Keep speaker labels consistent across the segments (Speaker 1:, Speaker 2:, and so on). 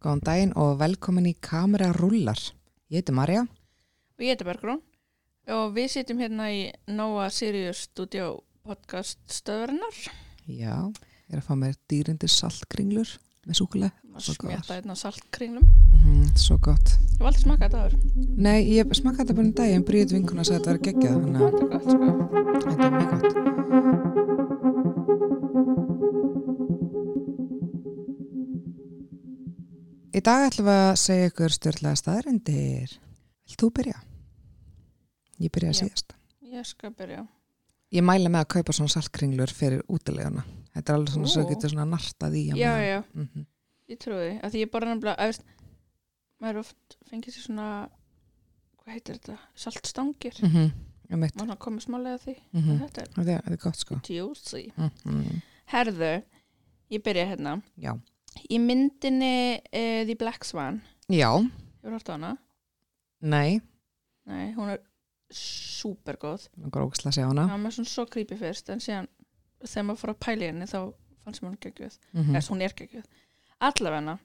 Speaker 1: Góðan daginn og velkomin í Kamera Rúllar. Ég heiti Marja.
Speaker 2: og ég heiti Bergrún og við sitjum hérna í Nóa Sirius Studio podcast stöðurinnar
Speaker 1: Já, ég er að fá mér dýrindir saltkringlur með súkuleg. Svo góðar.
Speaker 2: smjata hérna saltkringlum
Speaker 1: Mm svo gott.
Speaker 2: ég valdi smaka þetta áður
Speaker 1: Nei, ég smakkaði þetta bara um daginn, bríðið vinkuna sagði að þetta var geggjað, þannig að
Speaker 2: þetta er gott sko
Speaker 1: þetta er mjög gott. Í dag ætlum við að segja ykkur stjórnlega staðarindir. Vilt þú byrja? Ég byrjaði
Speaker 2: Já.
Speaker 1: síðast.
Speaker 2: ég skal byrja
Speaker 1: Ég mæla með að kaupa svona saltkringlur fyrir útileguna. Þetta er alveg svona svo
Speaker 2: Ó.
Speaker 1: getur svona nartað í. á
Speaker 2: já
Speaker 1: meðan.
Speaker 2: já
Speaker 1: Mhm.
Speaker 2: ég trúi því að því ég bara nefnilega að veist, maður oft fengið sér svona hvað heitir þetta saltstangir mm.
Speaker 1: Mhm. Einmitt.
Speaker 2: maður svona komið smálega að því
Speaker 1: Mhm.
Speaker 2: þetta er
Speaker 1: Það er- það er gott sko.
Speaker 2: juicy
Speaker 1: Mhm.
Speaker 2: herðu ég byrja hérna
Speaker 1: Já.
Speaker 2: í myndinni uh, The Black Swan
Speaker 1: Já,
Speaker 2: hefur hort á hana
Speaker 1: nei,
Speaker 2: Nei, hún er súper góð.
Speaker 1: það er ógæslega að sjá hana.
Speaker 2: Það var svona svo creepy fyrst en síðan þegar maður fór að pæla í henni þá fannst mér hún geggjöð. Mm.
Speaker 1: Mhm.
Speaker 2: hún er geggjöð. Allavegna.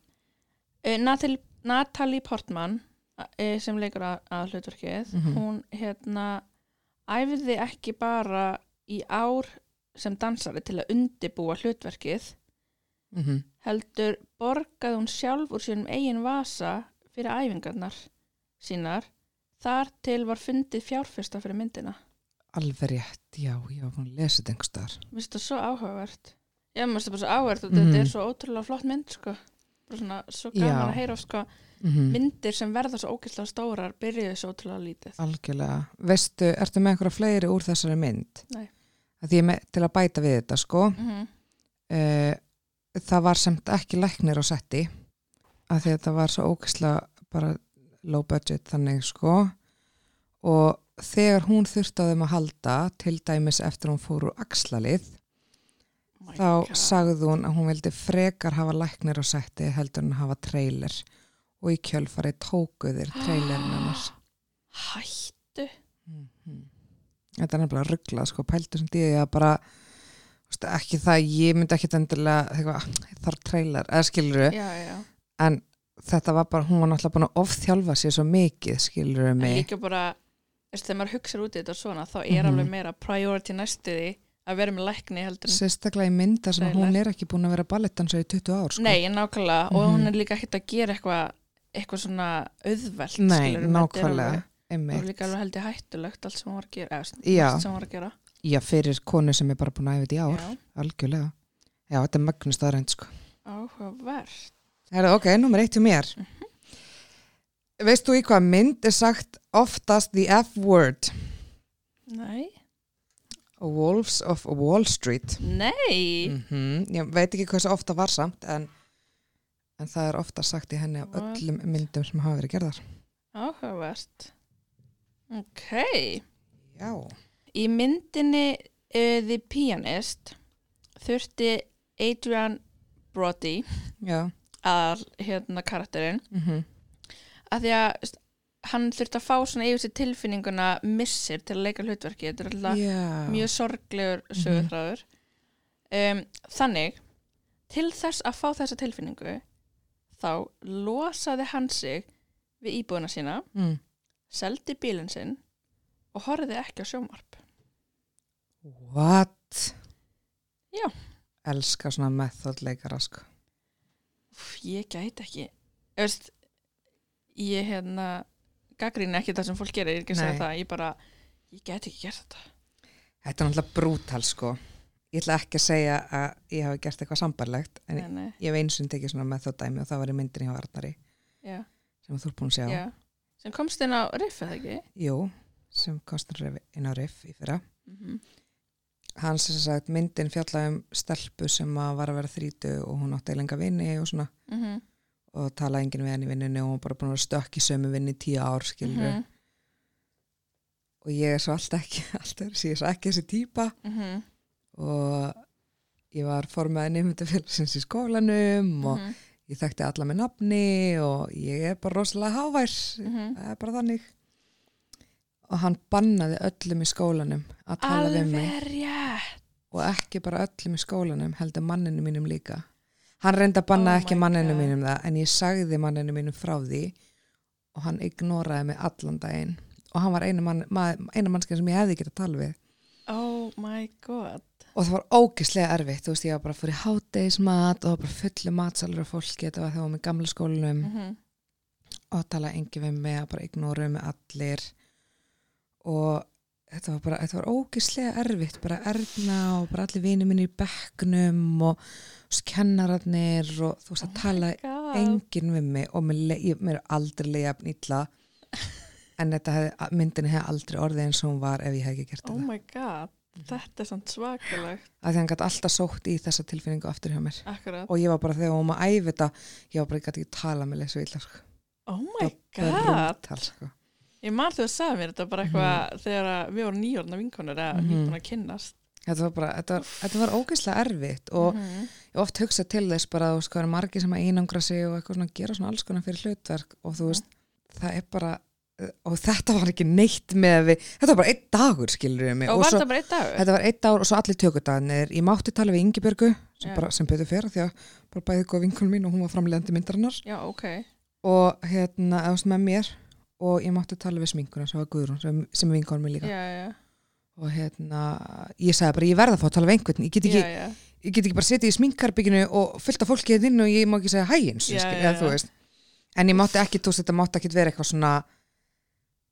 Speaker 2: Uh, Natalie, Natalie Portman uh, sem leikur að, að hlutverkið
Speaker 1: Mhm.
Speaker 2: hún hérna æfiði ekki bara í ár sem dansari til að undibúa hlutverkið
Speaker 1: Mhm.
Speaker 2: heldur borgaði hún sjálf úr sínum eigin vasa fyrir æfingarnar sínar þar til var fundið fjárfesta fyrir myndina
Speaker 1: Alveg rétt, já, ég var búin að lesa þetta einhvers staðar.
Speaker 2: Mér finnst það svo áhugavert. Já, mér finnst það bara svo áhugavert og
Speaker 1: Mhm.
Speaker 2: þetta er svo ótrúlega flott mynd, sko. Bara svona, svo
Speaker 1: Já.
Speaker 2: gaman að heyra, sko,
Speaker 1: Mhm.
Speaker 2: myndir sem verða svo ógeðslega stórar byrjuði svo ótrúlega
Speaker 1: Ah.
Speaker 2: lítið.
Speaker 1: Algjörlega. Veistu, ertu með einhverja fleiri úr þessari mynd?
Speaker 2: Nei.
Speaker 1: Að því ég er með, til að bæta við þetta sko,
Speaker 2: Mm -hmm.
Speaker 1: uh, það var semt ekki læknir á setti, að því að þetta var svo ógæslega bara low budget þannig sko. og þegar hún þurfti á þeim að halda, til dæmis eftir hún fór úr axlalið,
Speaker 2: Oh
Speaker 1: þá sagði hún að hún vildi frekar hafa læknir á setti heldur en hafa trailer og í kjölfari tóku þér trailerin hennar
Speaker 2: Hættu.
Speaker 1: Mhm. þetta er nefnilega rugglað sko pældu sem því að bara þú veist, ekki það, ég myndi ekki endilega eitthvað, þar trailer, eða skilur
Speaker 2: Já, já.
Speaker 1: en þetta var bara, hún var náttúrulega búin að ofþjálfa sér svo mikið skilur
Speaker 2: En
Speaker 1: mig
Speaker 2: líka bara, veist, þegar maður hugsa út í þetta svona, þá er
Speaker 1: Mhm.
Speaker 2: alveg meira priority næstiði að vera með lækni heldur en...
Speaker 1: sérstaklega í mynda sem
Speaker 2: Trailer.
Speaker 1: hún er ekki búin að vera balletansa í 20 ár sko.
Speaker 2: Nei, nákvæmlega, og
Speaker 1: Mhm.
Speaker 2: hún er líka ekkert að gera eitthvað eitthvað svona auðvelt
Speaker 1: Nei,
Speaker 2: skilurðu, þetta er
Speaker 1: nákvæmlega
Speaker 2: alveg- Það var
Speaker 1: einmitt,
Speaker 2: líka alveg held ég hættulegt allt sem hún var að gera, eða,
Speaker 1: Já.
Speaker 2: allt sem hún var að gera.
Speaker 1: já fyrir konu sem er bara búin að æfa þetta í ár
Speaker 2: Já.
Speaker 1: Algjörlega. Já, þetta er mögnust aðrænt sko.
Speaker 2: Áhugavert.
Speaker 1: Herra, ok, nummer eitt hjá mér.
Speaker 2: Mhm.
Speaker 1: Veist þú í hvað mynd er sagt oftast the F-word?
Speaker 2: Nei.
Speaker 1: Wolves of Wall Street.
Speaker 2: Nei.
Speaker 1: Mm Ég veit ekki hversu ofta var samt, en, en það er ofta sagt í henni á
Speaker 2: What?
Speaker 1: öllum myndum sem hafa verið gerðar.
Speaker 2: Áhugavert. Ok.
Speaker 1: Já.
Speaker 2: Í myndinni uh, The Pianist þurfti Adrian Brody
Speaker 1: Já.
Speaker 2: að hérna karakterinn
Speaker 1: Mm
Speaker 2: að því að veist, hann þurfti að fá svona yfir sér tilfinninguna missir til að leika hlutverki. Þetta er alltaf
Speaker 1: Já.
Speaker 2: mjög sorglegur sögurþráður um, þannig til þess að fá þessa tilfinningu þá losaði hann sig við íbúðuna sína
Speaker 1: Mm.
Speaker 2: seldi bílinn sinn og horfði ekki á sjómarp
Speaker 1: What?
Speaker 2: Já.
Speaker 1: Elskar svona methodleikara sko.
Speaker 2: Úff, ég gæti ekki Ég veist, ég hérna gaggríni ekki það sem fólk gerir, ég er ekki að
Speaker 1: Nei.
Speaker 2: segja það ég bara, ég gæti ekki gert þetta
Speaker 1: Þetta er náttúrulega brútal sko. Ég ætla ekki að segja að ég hafi gert eitthvað sambarlegt en
Speaker 2: nei, nei,
Speaker 1: ég hef eins og tekið svona með þó dæmi og það var í myndinni á Arnari
Speaker 2: já,
Speaker 1: sem þú er búin að sjá.
Speaker 2: já. sem komst inn á riffið ekki
Speaker 1: Jú, sem kostar inn á Riff í fyrra.
Speaker 2: mm
Speaker 1: Hann sem sagt myndin fjallaði um stelpu sem að var að vera þrítu og hún átti lenga vinni og svona
Speaker 2: -hmm.
Speaker 1: og talaði enginn við hann í vinnunni og hún var bara búin að vera stökk í sömu vinni í tíu ár skilur
Speaker 2: Mhm.
Speaker 1: og ég er svo alltaf ekki, alltaf ég er svo ekki þessi típa
Speaker 2: mhm,
Speaker 1: og ég var formaði nefndafélagsins í skólanum
Speaker 2: Mhm.
Speaker 1: og ég þekkti alla með nafni og ég er bara rosalega hávær
Speaker 2: mhm.
Speaker 1: það er bara þannig og hann bannaði öllum í skólanum að tala við mig
Speaker 2: alveg rétt
Speaker 1: og ekki bara öllum í skólanum heldur manninu mínum líka Hann reynda að banna
Speaker 2: Oh
Speaker 1: ekki
Speaker 2: my
Speaker 1: manninu
Speaker 2: God.
Speaker 1: mínum það en ég sagði manninu mínum frá því og hann ignoraði mig allan daginn og hann var einu, mann, mað, einu mannskja sem ég hefði getað tala við
Speaker 2: Oh my god.
Speaker 1: og það var ógislega erfitt, þú veist ég var bara fyrir hátdeismat og það var bara fullu matsalur og fólki, þetta var þegar við varum í gamla skólanum
Speaker 2: Mm
Speaker 1: og talaði engi við mig að bara ignoruðu mig allir og þetta var bara, þetta var ógislega erfitt bara erna og bara allir vinir minni í bekknum og þú veist, kennararnir og þú veist að tala
Speaker 2: Oh God.
Speaker 1: enginn við mig og mér, le- ég- mér er aldrei leiða illa en þetta hef, myndin hefði aldrei orðið eins og hún var ef ég hef ekki gert
Speaker 2: Oh
Speaker 1: þetta
Speaker 2: my god. Þetta er samt svakalegt.
Speaker 1: af því hann gæti alltaf sótt í þessa tilfinningu aftur hjá mér
Speaker 2: Akkurat.
Speaker 1: og ég var bara þegar hún var að æfa þetta ég var bara ég gæti ekki tala með lesu illa sko.
Speaker 2: Oh my
Speaker 1: Það var
Speaker 2: god.
Speaker 1: brútal, sko.
Speaker 2: Ég man þú að sagði mér þetta bara eitthvað þegar að við vorum nýjórna vinkonur eða
Speaker 1: Mhm.
Speaker 2: nýjórna kynnast.
Speaker 1: þetta var bara, þetta var, þetta var ógeðslega erfitt og
Speaker 2: Mhm.
Speaker 1: ég oft hugsa til þess bara þú veist, hvað eru margir sem að einangra sig og eitthvað svona gera svona alls konar fyrir hlutverk og þú veist, það er bara og þetta var ekki neitt með að við þetta var bara einn dagur skilur við mig
Speaker 2: Og var
Speaker 1: svo,
Speaker 2: þetta bara einn dagur?
Speaker 1: þetta var einn dagur og svo allir tökudagarnir ég mátti tala við Ingibjörgu sem,
Speaker 2: Já.
Speaker 1: bara, sem betur fyrir því að bara bæði góð vinkunum mín og hún var framlegandi myndarinnar
Speaker 2: Já, ok.
Speaker 1: og hérna, eða þú veist, með mér og ég mátti tala við sminkuna sem var Guðrún sem, sem er vinkunum mín líka
Speaker 2: Já, já.
Speaker 1: og hérna, ég sagði bara ég verða að fá að tala við einhvern, ég get ekki,
Speaker 2: Já, já.
Speaker 1: ég get ekki bara setið í sminkarbygginu og fullt af fólki hérna inn og ég má ekki segja hægins
Speaker 2: Já, já, já.
Speaker 1: en ég mátti ekki, þú veist, þetta mátti ekki vera eitthvað svona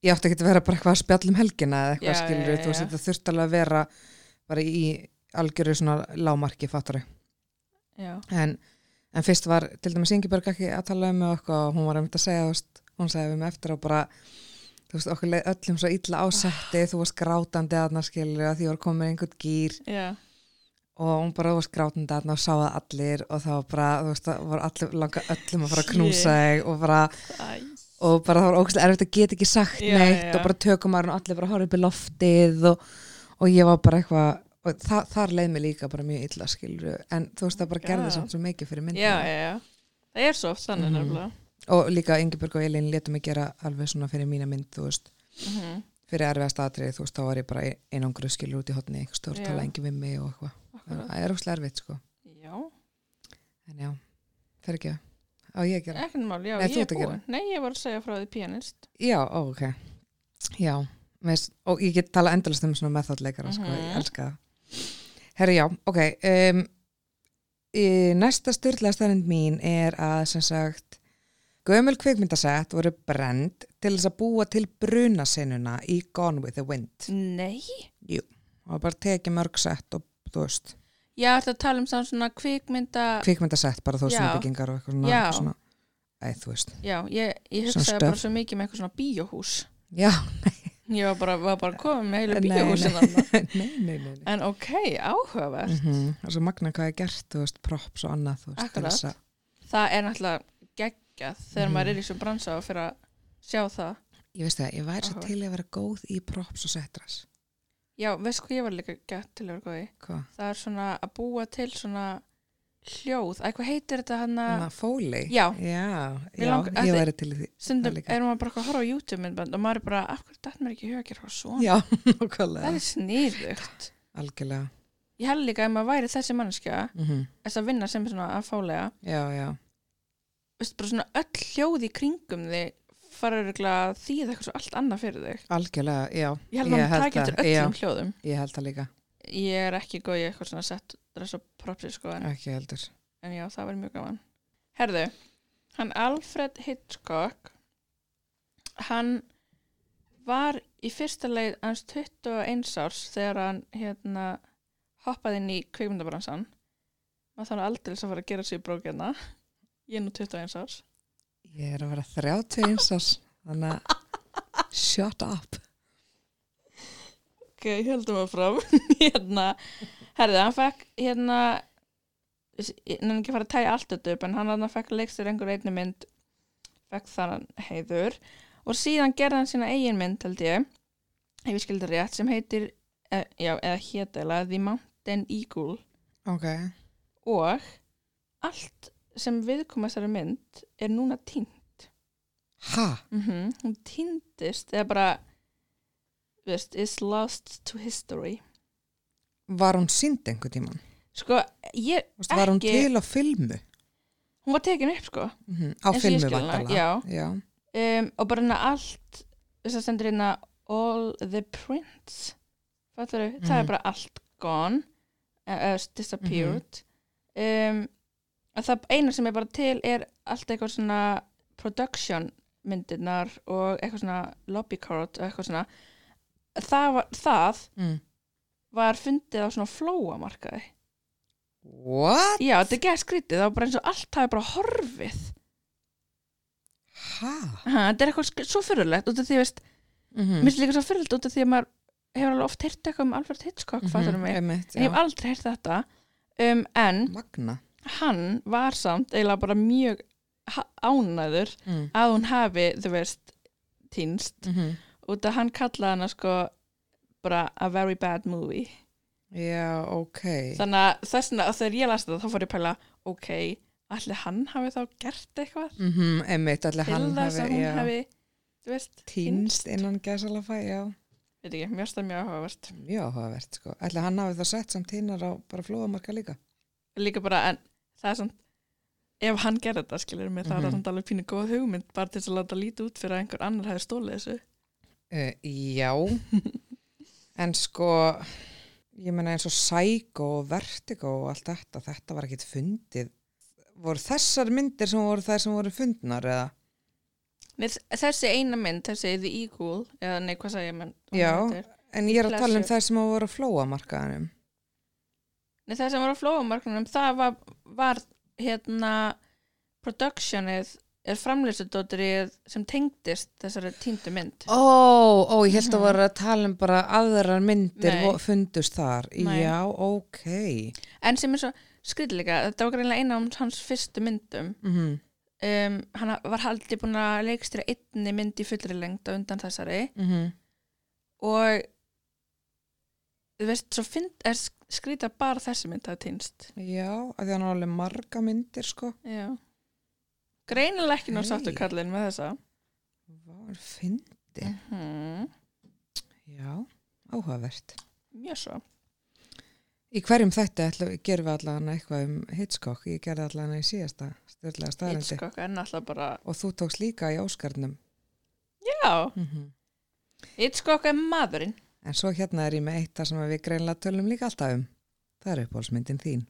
Speaker 1: ég átti ekki að vera bara eitthvað að spjalla um helgina eða eitthvað
Speaker 2: Já, já,
Speaker 1: skilur,
Speaker 2: já,
Speaker 1: þú veist,
Speaker 2: já.
Speaker 1: þetta þurft alveg að vera bara í algjöru svona lámarki fattari,
Speaker 2: Já.
Speaker 1: en, en fyrst var til dæmis Ingeborg ekki að tala um mig og eitthvað og hún var einmitt að segja, þú veist, hún segja við mig eftir og bara, þú veist, okkur leið öllum svo illa ásetti, þú varst grátandi aðna skilur, að því var komin einhvern gýr
Speaker 2: Já.
Speaker 1: og hún bara var skrátandi þarna og sáði allir og það var bara, þú veist, það var allir langa öllum að fara að knúsa þig og bara,
Speaker 2: Æ.
Speaker 1: og bara það var ógæslega erfitt að geta ekki sagt
Speaker 2: Já,
Speaker 1: neitt
Speaker 2: já.
Speaker 1: og bara tökum maður og allir bara horfði upp í loftið og, og ég var bara eitthvað og þa þar leið mér líka bara mjög illa skilur en þú veist það bara gerði
Speaker 2: Já.
Speaker 1: samt svo mikið fyrir myndina
Speaker 2: Oh Já, já, já. Það er svo oft þannig
Speaker 1: Mhm.
Speaker 2: nefnilega.
Speaker 1: og líka Ingeborg og Elin letum mig gera alveg svona fyrir mína mynd þú veist,
Speaker 2: Mm
Speaker 1: fyrir erfiðast atrið þú veist, þá var ég bara einangru skilur út í hotni einhver stór
Speaker 2: Já.
Speaker 1: tala engin við mig og eitthvað
Speaker 2: Akkurat.
Speaker 1: það er ógæslega erfitt sko
Speaker 2: Já.
Speaker 1: En já, fyrir ekki Á ég að gera?
Speaker 2: Ekkert mál, já,
Speaker 1: Nei, þú
Speaker 2: ég er
Speaker 1: ert að gera.
Speaker 2: búin. Nei, ég var að segja frá því pianist.
Speaker 1: Já, ó, ok. Já, veist, og ég get tala endalast um svona methodleikara, sko,
Speaker 2: Mhm.
Speaker 1: ég elska það. Herri, já, ok. Um, í, næsta styrlega stærnind mín er að, sem sagt, gömul kvikmyndasett voru brend til þess að búa til brunasennuna í Gone with the Wind.
Speaker 2: Nei?
Speaker 1: Og bara tekið mörg sett og, þú veist,
Speaker 2: Ég ætla að tala um samt svona kvikmynda,
Speaker 1: kvikmyndasett, bara þú veist, svona
Speaker 2: Já.
Speaker 1: byggingar og eitthvað svona,
Speaker 2: Já.
Speaker 1: svona, æ, þú veist.
Speaker 2: já, ég, ég
Speaker 1: Svona
Speaker 2: hugsaði
Speaker 1: stöf.
Speaker 2: bara svo mikið með eitthvað svona bíóhús.
Speaker 1: Já,
Speaker 2: Ég var bara, var bara komið með heilu
Speaker 1: Nei,
Speaker 2: bíóhúsin
Speaker 1: nei.
Speaker 2: þarna.
Speaker 1: nei, nei, nei. nei.
Speaker 2: En ok, áhugavert.
Speaker 1: mm það er svo magna hvað er gert þú veist, props og annað þú veist, til
Speaker 2: Akkurat.
Speaker 1: þess að-
Speaker 2: Það er náttúrulega geggjað þegar
Speaker 1: Mhm.
Speaker 2: maður er í svo bransa og fyrir að sjá það.
Speaker 1: ég veist það, ég væri svo
Speaker 2: Áhugavert.
Speaker 1: til að vera góð í props og setras
Speaker 2: Já, veistu hvað ég var líka gett til að vera góði?
Speaker 1: hvað,
Speaker 2: Það er svona að búa til svona hljóð. Æ, hvað heitir þetta hann
Speaker 1: þannig
Speaker 2: að...
Speaker 1: um að fóli
Speaker 2: Ah. Já.
Speaker 1: já,
Speaker 2: Mig
Speaker 1: já,
Speaker 2: langar-
Speaker 1: ég
Speaker 2: Ætli-
Speaker 1: væri til í því
Speaker 2: Stundum
Speaker 1: Það líka.
Speaker 2: er maður bara eitthvað að horfa á YouTube myndband og maður er bara, af hverju datt mér ekki í hug að gera eitthvað svona?
Speaker 1: já,
Speaker 2: Það
Speaker 1: okkarlega,
Speaker 2: er sniðugt.
Speaker 1: algjörlega
Speaker 2: Ég held líka að ef maður væri þessi mannskja,
Speaker 1: mm
Speaker 2: þess að vinna sem svona að fálega,
Speaker 1: já, já,
Speaker 2: veist, bara svona öll hljóð í kringum þig fara örugglega að þýða eitthvað svo allt annað fyrir þig.
Speaker 1: algjörlega, já,
Speaker 2: Ég held
Speaker 1: Ég
Speaker 2: að maður
Speaker 1: held
Speaker 2: taki eftir
Speaker 1: það,
Speaker 2: öllum hljóðum.
Speaker 1: ég held það líka
Speaker 2: Ég er ekki góð í eitthvað svona sett dress og propsi sko, en,
Speaker 1: ekki heldur
Speaker 2: en já, það var mjög gaman. Herðu, hann Alfred Hitchcock, hann var í fyrsta leið hans 21 árs þegar hann hérna hoppaði inn í kvikmyndabransan maður þannig aldrei að fara að gera sér í brókina ég er nú 21 árs
Speaker 1: ég er að vera 31 árs þannig að shut up
Speaker 2: ok, heldum að fram hérna, herðið, hann fekk hérna nefnir ekki að fara að tæja allt þetta upp en hann hann fekk leikstur einhver einni mynd fekk þann heiður og síðan gerði hann sína eigin mynd held ég, ef ég skildi rétt sem heitir, e, já, eða hét eða The Mountain Eagle
Speaker 1: ok,
Speaker 2: og allt sem viðkoma þessari mynd er núna týnt
Speaker 1: ha,
Speaker 2: mm hún týndist eða bara þú veist, is lost to history
Speaker 1: var hún sínd einhver tíman
Speaker 2: sko, ég
Speaker 1: var hún
Speaker 2: Ekki-
Speaker 1: til á filmu
Speaker 2: hún var tekin upp sko
Speaker 1: Mhm. á
Speaker 2: Eins og ég
Speaker 1: filmu
Speaker 2: skil hana,
Speaker 1: vandalega
Speaker 2: já.
Speaker 1: já.
Speaker 2: um, og bara hérna allt þess að stendur hérna all the prints Fattaru, það er
Speaker 1: Mhm.
Speaker 2: bara allt gone uh, disappeared
Speaker 1: Mhm.
Speaker 2: um, að það eina sem er bara til er allt eitthvað svona production myndirnar og eitthvað svona lobby card og eitthvað svona það var, það
Speaker 1: Mm.
Speaker 2: var fundið á svona flóamarkaði
Speaker 1: what?
Speaker 2: já, þetta er gett skrítið, það var bara eins og allt hafi bara horfið
Speaker 1: ha?
Speaker 2: ha, þetta er eitthvað sk- svo fyrirlegt út af því, veist,
Speaker 1: Mm
Speaker 2: Mér finnst líka svo fyrirlt út af því að maður hefur alveg oft heyrt eitthvað um Alfred Hitchcock, mm
Speaker 1: Mhm.
Speaker 2: mig. En ég hef aldrei heyrt þetta. Um, en
Speaker 1: magna
Speaker 2: hann var samt eiginlega bara mjög ha- ánæður
Speaker 1: mm.
Speaker 2: að hún hafi, þú veist, týnst.
Speaker 1: Mm
Speaker 2: Út að hann kallaði hana sko bara a very bad movie.
Speaker 1: já, ok
Speaker 2: Þannig að þess vegna að þegar ég las þetta þá fór ég að pæla, ok, allir hann hafi þá gert eitthvað
Speaker 1: mm einmitt, allir
Speaker 2: mhm. til
Speaker 1: hann
Speaker 2: þess að
Speaker 1: hafi
Speaker 2: hún
Speaker 1: já,
Speaker 2: hafi, þú veist,
Speaker 1: týnst innan gæsalafa, já
Speaker 2: Veit ekki, mjög stað mjög áhugavert.
Speaker 1: mjög áhugavert, sko, allir hann hafi það sett samt hinnar á bara flóðamarka líka
Speaker 2: líka bara en það er samt ef hann gerði þetta skilur mig það
Speaker 1: Mhm.
Speaker 2: er samt alveg pínu góð hugmynd bara til þess að láta líti út fyrir að einhver annar hefði stólið þessu
Speaker 1: Uh, já, en sko, ég meina eins og Psycho og Vertigo og allt þetta, þetta var ekkit fundið. Voru þessar myndir sem voru þær sem voru fundnar eða?
Speaker 2: Nei, þess- þessi eina mynd, þessi The Equal eða nei hvað sagði ég menn
Speaker 1: Já. En ég er að tala um
Speaker 2: Blessuð.
Speaker 1: þær sem voru á flóamarkaðanum.
Speaker 2: nei, það sem var á flóamarknunum það var, var hérna productionið er framlýsudóttrið sem tengdist þessari týndu mynd
Speaker 1: Ó, ó, ég held
Speaker 2: Mhm.
Speaker 1: að voru að tala um bara aðrar myndir
Speaker 2: Nei.
Speaker 1: vo- fundust þar.
Speaker 2: Nei.
Speaker 1: Já, ok.
Speaker 2: en sem er svo skrýtleika þetta var greinlega eina um hans fyrstu myndum
Speaker 1: Mm -hmm.
Speaker 2: um, hann var haldið búin að leikstýra einni mynd í fullri lengd á undan þessari
Speaker 1: Mm -hmm.
Speaker 2: og þú veist, svo finn, er skrýta bara þessi mynd að týnst
Speaker 1: Já, að því hann var alveg marga myndir sko.
Speaker 2: já greinilega ekki náðu
Speaker 1: Hey.
Speaker 2: sáttu kallinn með þessa
Speaker 1: Hvað er fyndið?
Speaker 2: hmm.
Speaker 1: Já, áhugavert.
Speaker 2: mjög svo
Speaker 1: Í hverjum þætti ætla, gerum við allan eitthvað um Hitchcock, ég gerði allan í síðasta styrlega staðrendi
Speaker 2: Hitchcock er náttúrulega bara
Speaker 1: og þú tókst líka í Óskarnum.
Speaker 2: já,
Speaker 1: Mm
Speaker 2: Hitchcock er maðurinn
Speaker 1: En svo hérna er ég með eitt það sem við greinlega tölum líka alltaf um. Það er upphólsmyndin þín.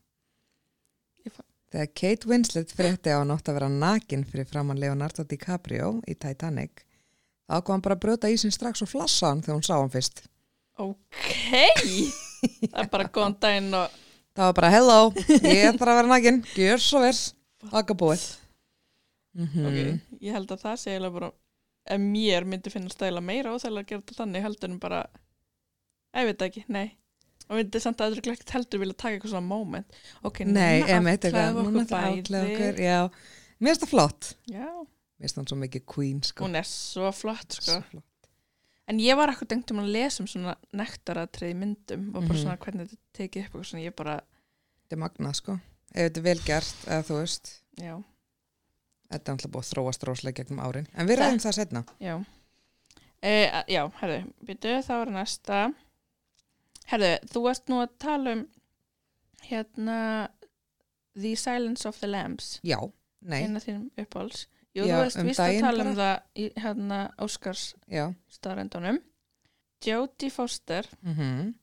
Speaker 2: Ég fa-
Speaker 1: Þegar Kate Winslet frétti á nátt að vera nakin fyrir framann Leonardo DiCaprio í Titanic, þá kom hann bara að brjóta ísinn strax og flassa hann þegar hún sá hann fyrst.
Speaker 2: ok það er bara góðan daginn og
Speaker 1: Það var bara, hello, ég þarf að vera nakin, gjör svo vel, þakka búið. Mm
Speaker 2: ok, ég held að það sé eiginlega bara ef mér myndi finna stæla meira óþægilega að gera þetta þannig heldur en bara ég veit það ekki, nei og myndi samt að öðru glögt heldur vilja taka eitthvað svona moment ok,
Speaker 1: Nei,
Speaker 2: núna
Speaker 1: emitt eitthvað,
Speaker 2: afklæðum
Speaker 1: núna
Speaker 2: okkur
Speaker 1: það áklæða
Speaker 2: bæði.
Speaker 1: okkur, já. Mér finnst það flott.
Speaker 2: já,
Speaker 1: Mér finnst það svo mikið queen, sko.
Speaker 2: hún er svo flott sko.
Speaker 1: Svo flott.
Speaker 2: en ég var ekkert dengt um að lesa um svona nektaratrið í myndum og bara
Speaker 1: Mhm.
Speaker 2: svona hvernig þetta er tekið upp og svona ég bara,
Speaker 1: Þetta er magnað, sko. Ef þetta er vel gert, eða þú veist,
Speaker 2: já,
Speaker 1: þetta er alltaf búið að þróast róslega gegnum árin. En við
Speaker 2: Það-
Speaker 1: ræðum það setna.
Speaker 2: já uh, já, herðu, byrju þá er næsta herðu, þú varst nú að tala um hérna The Silence of the Lambs
Speaker 1: Já, nei,
Speaker 2: eina þínum uppáhalds Jú,
Speaker 1: Já,
Speaker 2: þú veist
Speaker 1: um
Speaker 2: vist að
Speaker 1: daginn
Speaker 2: tala um það í hérna Óskars
Speaker 1: já.
Speaker 2: staðrendunum Jodie Foster
Speaker 1: Mm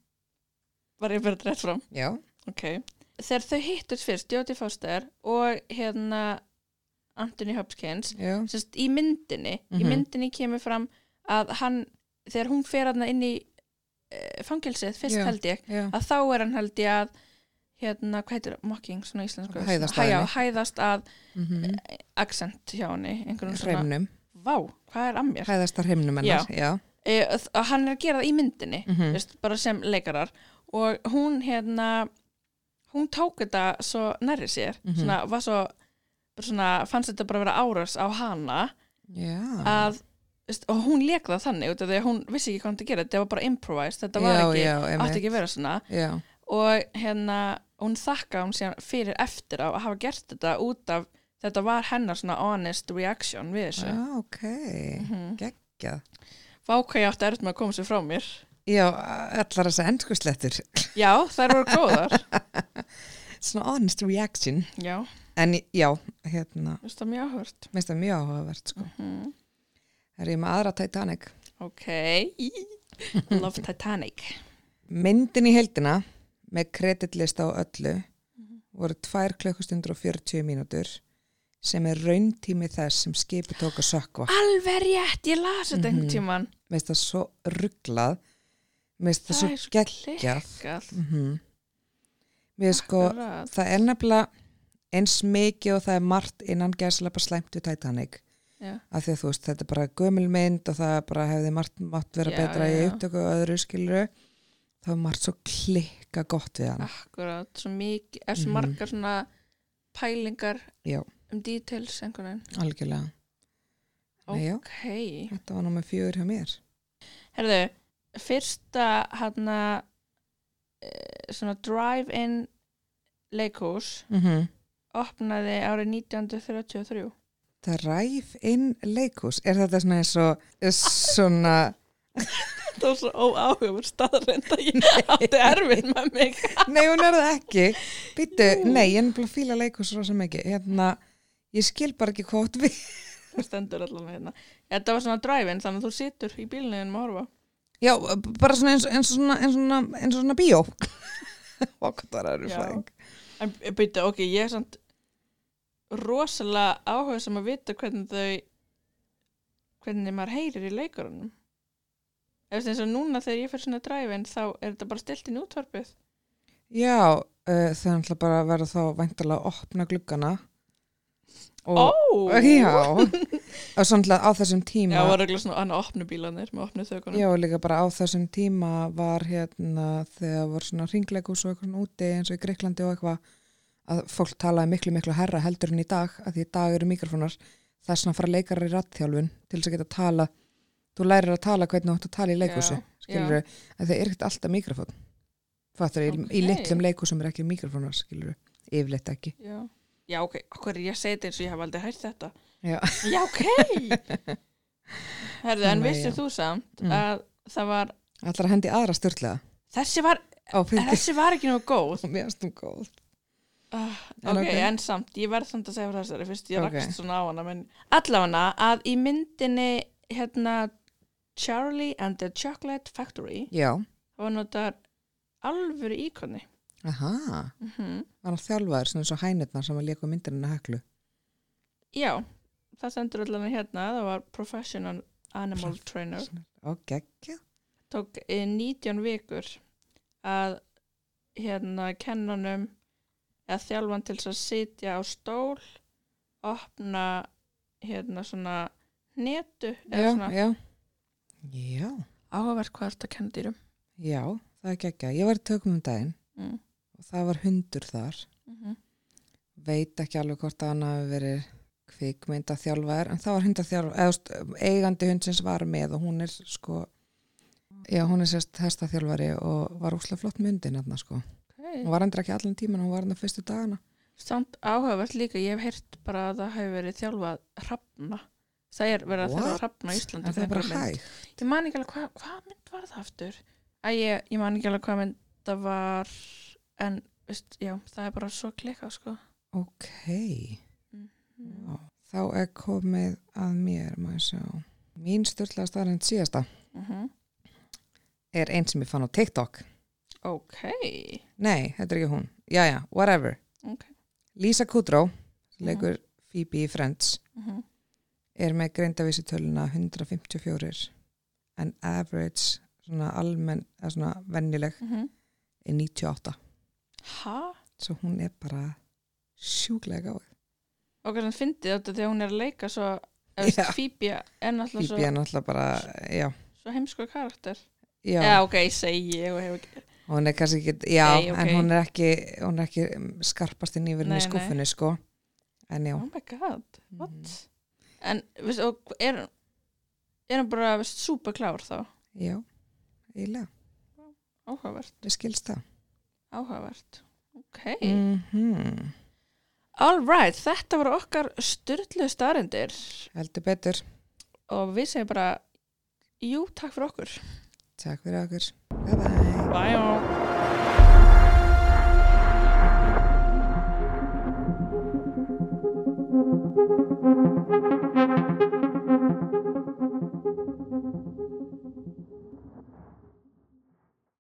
Speaker 2: var ég verið rétt fram
Speaker 1: Já,
Speaker 2: okay. þegar þau hittust fyrst Jodie Foster og hérna Anthony Hopkins
Speaker 1: já.
Speaker 2: sérst, í myndinni í
Speaker 1: Mhm.
Speaker 2: myndinni kemur fram að hann þegar hún fer hann inn í uh, fangilsið fyrst
Speaker 1: Já.
Speaker 2: held ég
Speaker 1: Já,
Speaker 2: að þá er hann held ég að hérna, hvað heitir mocking svona íslensku
Speaker 1: Hæðast að
Speaker 2: að,
Speaker 1: henni.
Speaker 2: hæðast að
Speaker 1: mm -hmm.
Speaker 2: accent hjá henni einhvern Eh, svona
Speaker 1: hreimnum,
Speaker 2: vá, hvað er að mér?
Speaker 1: hæðastar hreimnum hennar, já.
Speaker 2: E, að hann er að gera það í myndinni
Speaker 1: Mm -hmm.
Speaker 2: veist, bara sem leikarar og hún hérna hún tók þetta svo nærri sér
Speaker 1: Mhm.
Speaker 2: svona, var svo, bara svona fannst þetta bara vera árás á hana
Speaker 1: Já,
Speaker 2: að, veist, og hún leik það þannig út af því að hún vissi ekki hvað hann að gera þetta var bara improvised, þetta var
Speaker 1: já,
Speaker 2: ekki
Speaker 1: já,
Speaker 2: átti
Speaker 1: emmitt.
Speaker 2: ekki að vera svona
Speaker 1: Já,
Speaker 2: og hérna, hún þakka hún síðan fyrir eftir á að hafa gert þetta út af, þetta var hennar svona honest reaction við þessu
Speaker 1: já, Ah, ok,
Speaker 2: Mhm.
Speaker 1: geggjað.
Speaker 2: Vá hvað ég átti erut með að koma sér frá mér
Speaker 1: Já, allar þess að ennskuslettur.
Speaker 2: Já, þær voru góðar
Speaker 1: Svona honest reaction.
Speaker 2: Já,
Speaker 1: en já, hérna,
Speaker 2: Þú veist það mjög áhört.
Speaker 1: mér finnst það mjög áhugavert sko.
Speaker 2: Mm.
Speaker 1: er ég með aðra Titanic
Speaker 2: Ok. Í. Love Titanic.
Speaker 1: myndin í heldina með kreditlista og öllu voru 2 klukkustundur og 40 mínútur sem er rauntími þess sem skipi tók að sökva
Speaker 2: Alveg rétt, ég las þetta einhvern tíman.
Speaker 1: mér finnst það svo rugglað mér finnst það,
Speaker 2: Það
Speaker 1: svo
Speaker 2: er svo
Speaker 1: geggjað
Speaker 2: Klikkað.
Speaker 1: mm mér finnst sko
Speaker 2: Akkurat.
Speaker 1: það er nefnilega eins mikið og það er margt innan gæslepa slæmt við Titanic
Speaker 2: Já.
Speaker 1: af því að þú veist þetta er bara gömulmynd og það bara hefði margt mátt vera
Speaker 2: Já,
Speaker 1: betra í
Speaker 2: já.
Speaker 1: upptöku og öðru skiluru það er margt svo klikka gott við hann
Speaker 2: Akkurat, svo mikið, er svo
Speaker 1: Mhm.
Speaker 2: margar svona pælingar
Speaker 1: Já.
Speaker 2: um details einhvern veginn.
Speaker 1: algjörlega Nei, já.
Speaker 2: Ok.
Speaker 1: þetta var námið fjögur hjá mér
Speaker 2: Herðu, fyrsta hann svona drive-in leikhús
Speaker 1: mm
Speaker 2: opnaði árið 1933.
Speaker 1: það ræf inn leikus er þetta svona eins og svona,
Speaker 2: Það var svo óáhugum staðarend að ég átti erfið með mig.
Speaker 1: nei hún er það ekki býttu,
Speaker 2: Jú.
Speaker 1: nei ég er nefnilega að fíla leikus rosa mikið, hérna ég skil bara ekki hvort við
Speaker 2: Það stendur allavega hérna. Þetta var svona drive-in þannig að þú situr í bílniðinum að horfa.
Speaker 1: Já, b- bara svona eins, eins, og svona, eins, og svona, eins og svona bíó. Vokktaraður
Speaker 2: Já.
Speaker 1: fræðing.
Speaker 2: En byrja, ok, ég er samt rosalega áhuga sem að vita hvernig þau hvernig maður heyrir í leikurunum eða þess að núna þegar ég fyrir svona dræfin þá er þetta bara stilt inn í útvarpið
Speaker 1: Já, uh, það er náttúrulega bara að vera þá væntalega að opna gluggana.
Speaker 2: Ó!
Speaker 1: Og, Já, og svona á þessum
Speaker 2: Já,
Speaker 1: tíma,
Speaker 2: það var regla svona annað opnu bílanir með opnu þökunum
Speaker 1: já, og líka bara á þessum tíma var hérna þegar voru svona ringleikus og eitthvað svona úti eins og í Greiklandi og eitthvað að fólk talaði miklu miklu herra heldur en í dag að því í dag eru mikrofónar þess að fara leikarar í rattþjálfun til þess að geta tala, þú lærir að tala hvernig þú átt að tala í leikusi. skilur við, það er ekkert alltaf mikrofón fattur, okay. í
Speaker 2: Ókei.
Speaker 1: litlum leikusum er ekki mikrofónar, skilur við yfirleitt ekki,
Speaker 2: Já, já ok, okkur er ég að segja þetta eins og ég hef aldrei hægt þetta
Speaker 1: Já.
Speaker 2: já ok Herðu, en
Speaker 1: Nei,
Speaker 2: vissir
Speaker 1: já.
Speaker 2: þú samt
Speaker 1: Mm.
Speaker 2: að það var,
Speaker 1: allar að hendi í aðra styrlega
Speaker 2: þessi var
Speaker 1: á fyrir,
Speaker 2: þessi var ekki nú góð
Speaker 1: mér finnst hún góð
Speaker 2: Uh,
Speaker 1: En
Speaker 2: ok,
Speaker 1: ok.
Speaker 2: en samt, ég verð samt að segja frá þessari fyrst ég
Speaker 1: Ok.
Speaker 2: rakst svona á hana menn... Allafana að í myndinni hérna Charlie and the Chocolate Factory
Speaker 1: já,
Speaker 2: það var notar alvöru íkonni
Speaker 1: aha
Speaker 2: mm
Speaker 1: hann var þjálfaður, svona eins og hænirnar sem að léku myndirinu heklu
Speaker 2: Já, það sendur allavega hérna það var Professional Animal Trainer
Speaker 1: og geggja,
Speaker 2: tók eh, 19 vikur að hérna kennanum eða þjálfan til þess að sitja á stól opna hérna svona netu eða
Speaker 1: já,
Speaker 2: svona
Speaker 1: já já,
Speaker 2: áhverf hvað þetta kenna dýrum
Speaker 1: já, það er geggja ég var í tökum um daginn
Speaker 2: mm.
Speaker 1: og það var hundur þar
Speaker 2: Mm -hmm.
Speaker 1: veit ekki alveg hvort að hann hafi verið kvikmynda þjálfaður en það var hundaþjálfaður, eða þú veist, eigandi hund sem var með og hún er sko já, hún er sérst hestaþjálfari og var úslega flott myndin hérna sko hún
Speaker 2: okay.
Speaker 1: var endur ekki allan tíman, hún var hérna fyrstu dagana
Speaker 2: Samt áhugavert líka, ég hef heyrt bara að það hefur verið þjálfað hrafna það er verið að þjálfa
Speaker 1: What?
Speaker 2: hrafna á Íslandi
Speaker 1: en það er bara
Speaker 2: einhverri mynd.
Speaker 1: hæg
Speaker 2: Ég man ekki alveg hvað hva mynd var það aftur Æ, ég, ég man ekki alveg hvað mynd það var en veist, já, það er bara svo klikka sko.
Speaker 1: ok, já. þá er komið að mér, maður sjá mín styrla staðarinn síðasta
Speaker 2: Mm -hmm.
Speaker 1: er einn sem ég fann á TikTok
Speaker 2: Ok
Speaker 1: nei, þetta er ekki hún, já já, whatever
Speaker 2: Ok.
Speaker 1: Lisa Kudrow, sem
Speaker 2: Mhm.
Speaker 1: leikur Phoebe í Friends
Speaker 2: mm -hmm.
Speaker 1: er með greindavísitöluna 154 en average svona almenn, eða svona vennileg er 98
Speaker 2: Mhm. Ha?
Speaker 1: svo hún er bara sjúklega gáð
Speaker 2: Ok, þannig fyndið þetta þegar hún er að leika svo eða veist,
Speaker 1: Já.
Speaker 2: Phoebe er náttúrulega
Speaker 1: Phoebe
Speaker 2: svo,
Speaker 1: er náttúrulega bara, já,
Speaker 2: svo heimsko karakter
Speaker 1: já,
Speaker 2: Já, ok, ég segi ég og hef ekki
Speaker 1: hún er kannski ekki já,
Speaker 2: Nei, ok.
Speaker 1: en hún er ekki, hún er ekki um, skarpast inn í verðinni í
Speaker 2: Nei,
Speaker 1: skúfunni sko en já,
Speaker 2: Oh my god, what?
Speaker 1: Mhm.
Speaker 2: En, veist, og er er hún bara, veist, súperklár þá
Speaker 1: já eiginlega,
Speaker 2: Áhugavert,
Speaker 1: við skilst það
Speaker 2: áhugavert Ok
Speaker 1: mm
Speaker 2: All right, þetta voru okkar styrlu staðarindir
Speaker 1: heldur betur,
Speaker 2: og við segjum bara jú, takk fyrir okkur.
Speaker 1: takk fyrir okkur bye bye
Speaker 2: Bye.